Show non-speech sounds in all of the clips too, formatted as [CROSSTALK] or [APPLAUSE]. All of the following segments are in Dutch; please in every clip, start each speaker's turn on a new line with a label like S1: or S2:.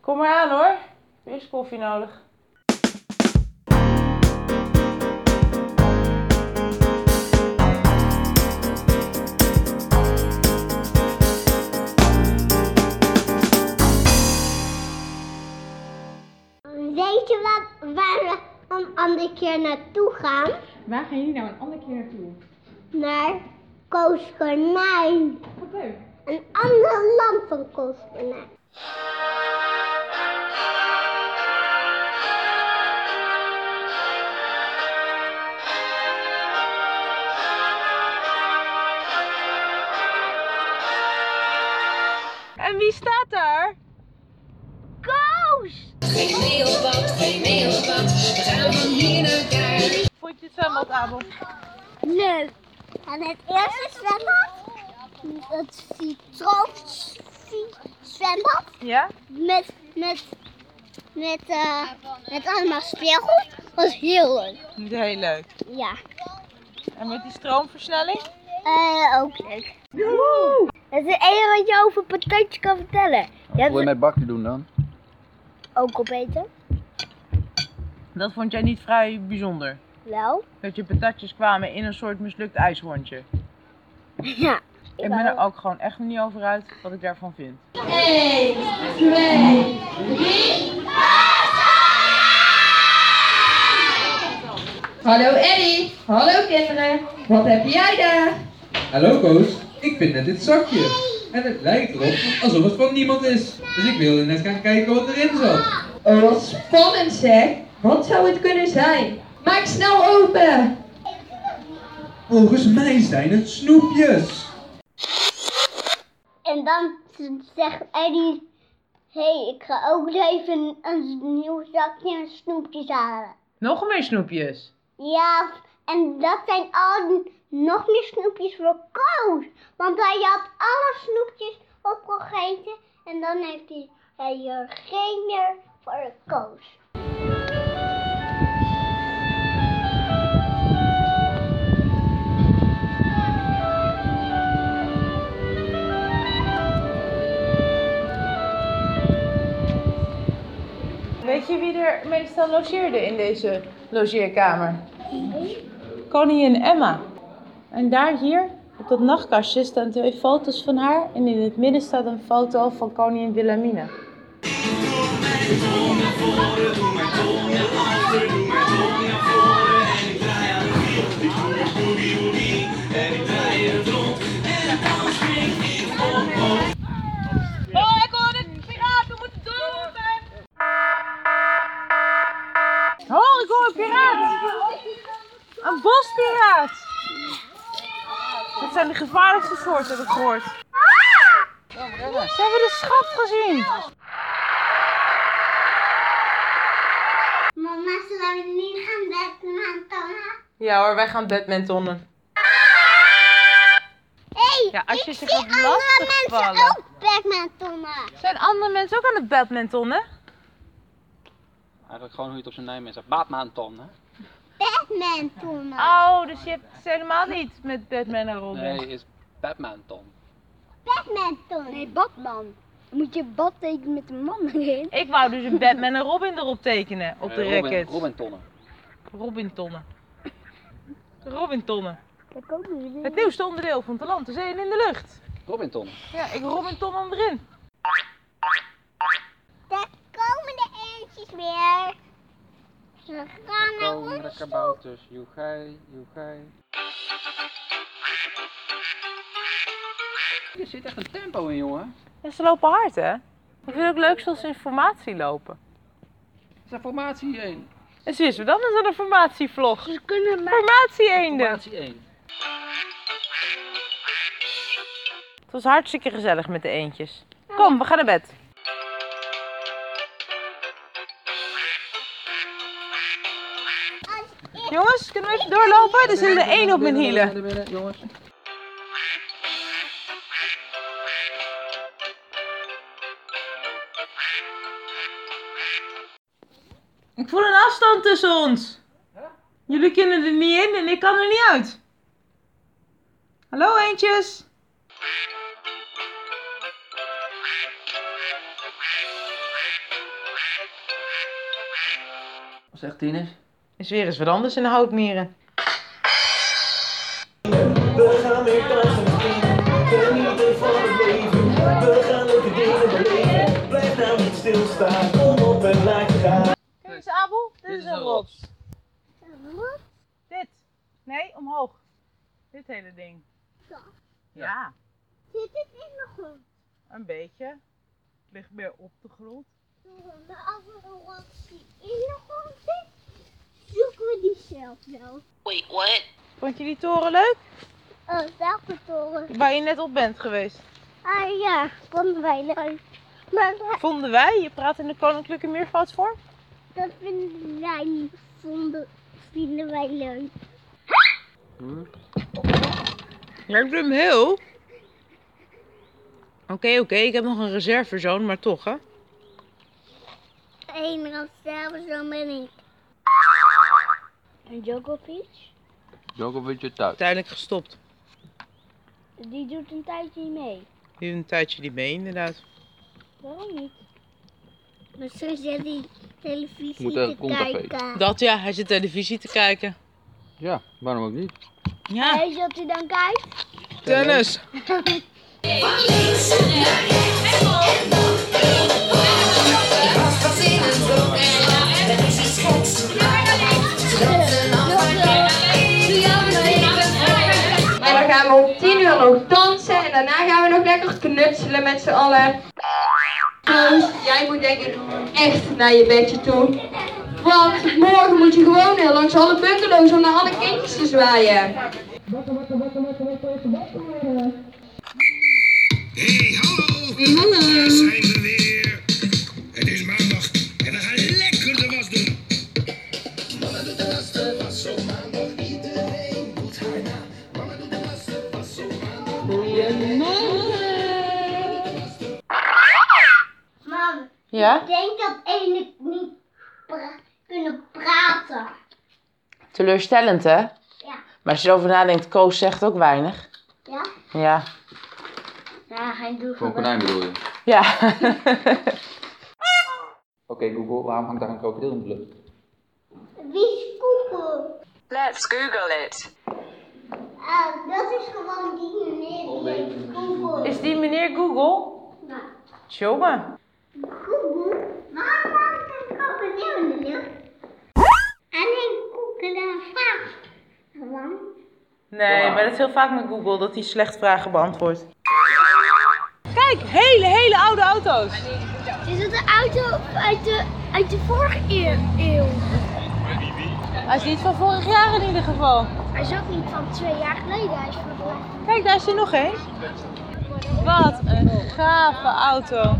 S1: Kom maar aan hoor. Er is koffie nodig.
S2: Weet je wat, waar we een andere keer naartoe gaan?
S3: Waar gaan jullie nou een andere keer naartoe?
S2: Naar Koos Konijn.
S3: Wat leuk.
S2: Een ander land van Koos Konijn.
S1: En wie staat daar?
S2: Koos!
S4: Geen meelpad, geen meelpad, we gaan van hier naar daar.
S1: Vond je het zwembad, Abel?
S2: Leuk. En het eerste zwembad, het citroenzwembad,
S1: Ja?
S2: met, met, met, eh, met allemaal spiegels, was heel leuk.
S1: Niet heel leuk.
S2: Ja,
S1: En met die stroomversnelling?
S2: Eh, ook leuk. Het is het enige wat je over patatje kan vertellen. Je
S5: Wat wil je
S2: hebt
S5: met bakken doen dan?
S2: ook opeten,
S1: Dat vond jij niet vrij bijzonder.
S2: wel. [LAUGHS]
S1: Dat je patatjes kwamen in een soort mislukt ijshondje.
S2: Ja.
S1: Ik ben er ook gewoon echt niet over uit wat ik daarvan vind.
S6: Hallo Eddie, hallo kinderen, wat heb jij daar?
S7: Hallo Koos, ik vind net dit zakje. En het lijkt erop alsof het van niemand is. Dus ik wilde net gaan kijken wat erin zat.
S6: Oh, wat spannend zeg. Wat zou het kunnen zijn? Maak snel open.
S7: Volgens mij zijn het snoepjes.
S2: En dan z- zegt Eddie, hé, hey, ik ga ook even een, een nieuw zakje en snoepjes halen.
S1: Nog meer snoepjes.
S2: Ja, en dat zijn al die- nog meer snoepjes voor Koos. Want hij had alle snoepjes opgegeten en dan heeft hij, hij er geen meer voor Koos.
S1: Weet je wie er meestal logeerde in deze logeerkamer? Koningin Emma. En daar hier, op dat nachtkastje, staan twee foto's van haar. En in het midden staat een foto van koningin Wilhelmina. Oh, ik hoor het! Piraten moeten doden! Oh, ik hoor een piraat! Een bospiraat! Dat zijn de gevaarlijkste soorten, heb ik gehoord.
S2: Ah!
S1: Ze hebben de schat gezien!
S2: Mama, zullen we niet gaan bedden, Thomas?
S1: Ja hoor, wij gaan badmintonnen.
S2: Hey,
S1: Ja, als je
S2: ik
S1: ze
S2: zie
S1: gaat
S2: andere mensen
S1: lastigvallen.
S2: ook Pac-Man tonnen.
S1: Zijn andere mensen ook aan het badmintonnen?
S5: Eigenlijk gewoon hoe je het op zijn Nijmegen zegt. Baatmaanton, hè?
S2: Pac-Man tonnen.
S1: Oh, dus je hebt het helemaal niet met Batman en Robin.
S5: Nee, is Batmaanton.
S2: Pac-Man tonnen. Nee, Batman. Dan moet je bad tekenen met een man [LAUGHS] erin.
S1: Ik wou dus een Batman en Robin erop tekenen, op de
S5: Eh, Robin,
S1: racket.
S5: Robintonnen.
S1: Robintonnen. Robintonnen.
S2: Dat kan ook niet.
S1: Het nieuwste onderdeel van het land, de zee en in de lucht.
S5: Robintonnen.
S1: Ja, ik Robintonnen erin.
S2: Daar komen de eentjes weer. Ze gaan naar ons toe.
S5: kabouters. Joegai, joegai. Er zit echt een tempo in, jongen.
S1: En ze lopen hard, hè? Ik vind het ook leuk zoals ze in formatie lopen.
S5: Er is een formatie 1.
S1: En zie je dan eens aan een formatievlog.
S2: Ze kunnen maar...
S1: Formatie eenden.
S5: Formatie 1.
S1: Het was hartstikke gezellig met de eendjes. Kom, we gaan naar bed. Jongens, kunnen we even doorlopen? Er zit er één op mijn hielen.
S5: Naar binnen, jongens.
S1: Ik voel een afstand tussen ons. Jullie kunnen er niet in en ik kan er niet uit. Hallo eentjes.
S5: Zegt Tines.
S1: Is weer eens wat anders in de houtmieren.
S8: We gaan weer dansen. De liefde van het leven. We gaan leuke dingen beleven. Blijf nou niet stilstaan. Kom op en laat je gaan.
S1: Kijk eens, Abel. Dit, is een rots.
S2: Wat?
S1: Dit. Nee, omhoog. Dit hele ding.
S2: Ja.
S1: Ja,
S2: Zit het in de grond?
S1: een beetje. Het ligt meer op de grond.
S2: Maar als er een rots die in de grond zit, zoeken we die zelf wel.
S1: Vond je die toren leuk?
S2: Oh, welke toren?
S1: Waar je net op bent geweest.
S2: Ah ja, vonden wij leuk. Maar wa-
S1: Vonden wij, je praat in de Koninklijke Meervoud voor?
S2: dat vinden wij niet. Vonden, vinden wij leuk.
S1: Ja, ik doe hem heel. Oké, oké, ik heb nog een reservezoon, maar toch hè.
S2: Eén rand zelf, zo ben ik. En Djokovic,
S5: Djokovic je thuis.
S1: Uiteindelijk gestopt.
S2: die doet een tijdje niet mee.
S1: Die doet een tijdje niet mee, inderdaad.
S2: Waarom niet? Misschien zit die televisie
S5: Moet er
S2: te
S5: een contactfeest.
S2: kijken.
S1: Dat ja, hij zit televisie te kijken.
S5: Ja, waarom ook niet?
S1: Ja,
S2: Weet je wat hij dan kijkt?
S1: tennis.
S6: En dan gaan we om 10 uur nog dansen en daarna gaan we nog lekker knutselen met z'n allen. Dus jij moet denk ik echt naar je bedje toe. Want morgen moet je gewoon heel langs alle bungalows om naar alle kindjes te zwaaien.
S9: Hey, hallo! Hallo! Daar zijn we weer. Het is maandag en we gaan lekker de was doen. Mama doet de was, de was op maandag. Iedereen doet haar na. Mama doet de was, de was op maandag.
S2: Mam, ik
S1: Ja?
S2: denk dat ene niet pra- kunnen praten.
S1: Teleurstellend hè?
S2: Ja.
S1: Maar als je erover nadenkt, Koos zegt ook weinig.
S2: Ja?
S1: Ja.
S2: Ja, hij doet
S5: Krokodijn bedoel je? Oké
S1: Ja. [LAUGHS]
S5: Google, waarom hangt daar een krokodil in de lucht?
S2: Wie is koekoe?
S10: Let's Google it.
S2: Ah, dat is gewoon die meneer die heet koekoe.
S1: Is die meneer Google?
S2: Nou,
S1: Tjonge.
S2: koekoe? Waarom maakt een krokodil in de lucht? En ik koeken daar vraag. Waarom?
S1: Nee, maar dat is heel vaak met Google dat hij slecht vragen beantwoordt. Kijk, hele, hele oude auto's.
S2: Is het een auto uit de, uit de vorige eeuw- eeuw?
S1: Hij is niet van vorig jaar in ieder geval.
S2: Hij is ook niet van twee jaar geleden, hij is van vorig
S1: Kijk, daar is er nog één. Wat een gave auto.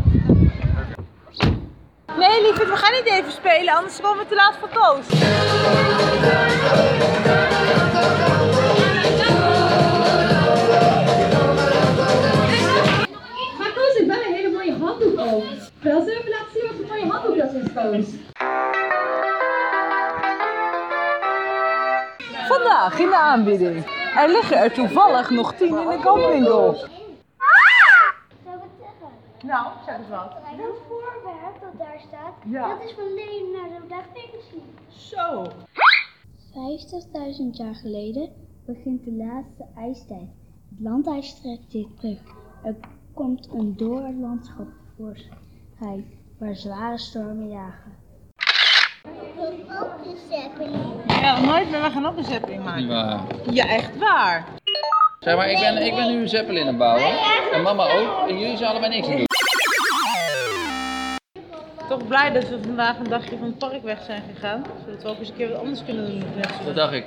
S1: Nee, lieverd, we gaan niet even spelen, anders komen we te laat voor Koos.
S6: Maar Koos heeft wel een hele mooie handdoek op. Dan zullen we laten zien wat voor mooie handdoek dat is, Koos.
S1: Vandaag in de aanbieding. Er liggen er toevallig nog tien in de koopwinkel.
S2: Zou ik het zeggen?
S1: Nou, zeg eens wat.
S2: Dat voorwerp dat daar staat,
S1: Ja.
S2: dat is van Leonardo da Vinci.
S1: Zo.
S2: 50.000 jaar geleden begint de laatste ijstijd. Het landijs trekt zich terug. Er komt een door landschap hij waar zware stormen jagen. Ook de zeppelin.
S1: Ja, nooit meer. We gaan ook een zeppelin maken.
S5: waar.
S1: Ja, echt waar.
S5: Zeg maar, ik ben, ik ben nu een zeppelin aan het bouwen. En mama ook. En jullie zullen allebei niks aan doen.
S1: Toch blij dat we vandaag een dagje van het park weg zijn gegaan. Zodat we ook eens een keer wat anders kunnen doen. met mensen.
S5: Dat dacht ik.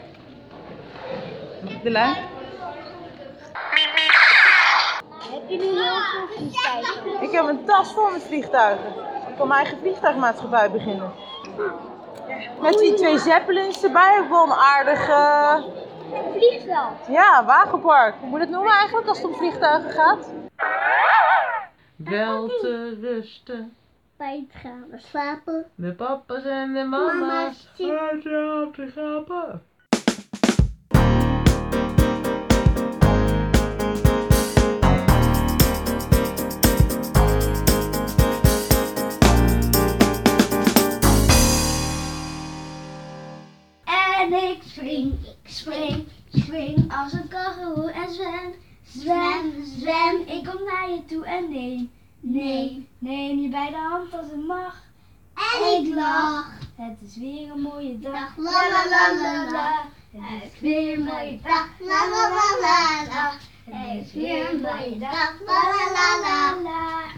S1: De lijn.
S2: Heb je nu heel veel vliegtuigen?
S1: Ik heb een tas vol met vliegtuigen. Ik kan mijn eigen vliegtuigmaatschappij beginnen. Met die twee zeppelins erbij, ook wel een aardig eh,
S2: Een vliegveld.
S1: ja, wagenpark. Hoe moet je dat noemen eigenlijk als het om vliegtuigen gaat?
S2: Wel
S1: te rusten,
S2: Bij het gaan we slapen.
S1: de papa's en de
S2: mama's, Mama's.
S1: op de grappen.
S2: Ik spring, ik spring, ik spring als een kangoeroe en zwem, zwem, zwem. Ik kom naar je toe en neem, neem, neem je bij de hand als het mag. En ik lach. Het is weer een mooie dag. La la la la la. Het is weer een mooie dag. La la la la la. Het is weer een mooie dag. La la la la la. Het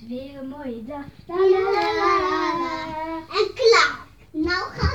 S2: is weer een mooie dag. La la la la la. En klaar. Nou ga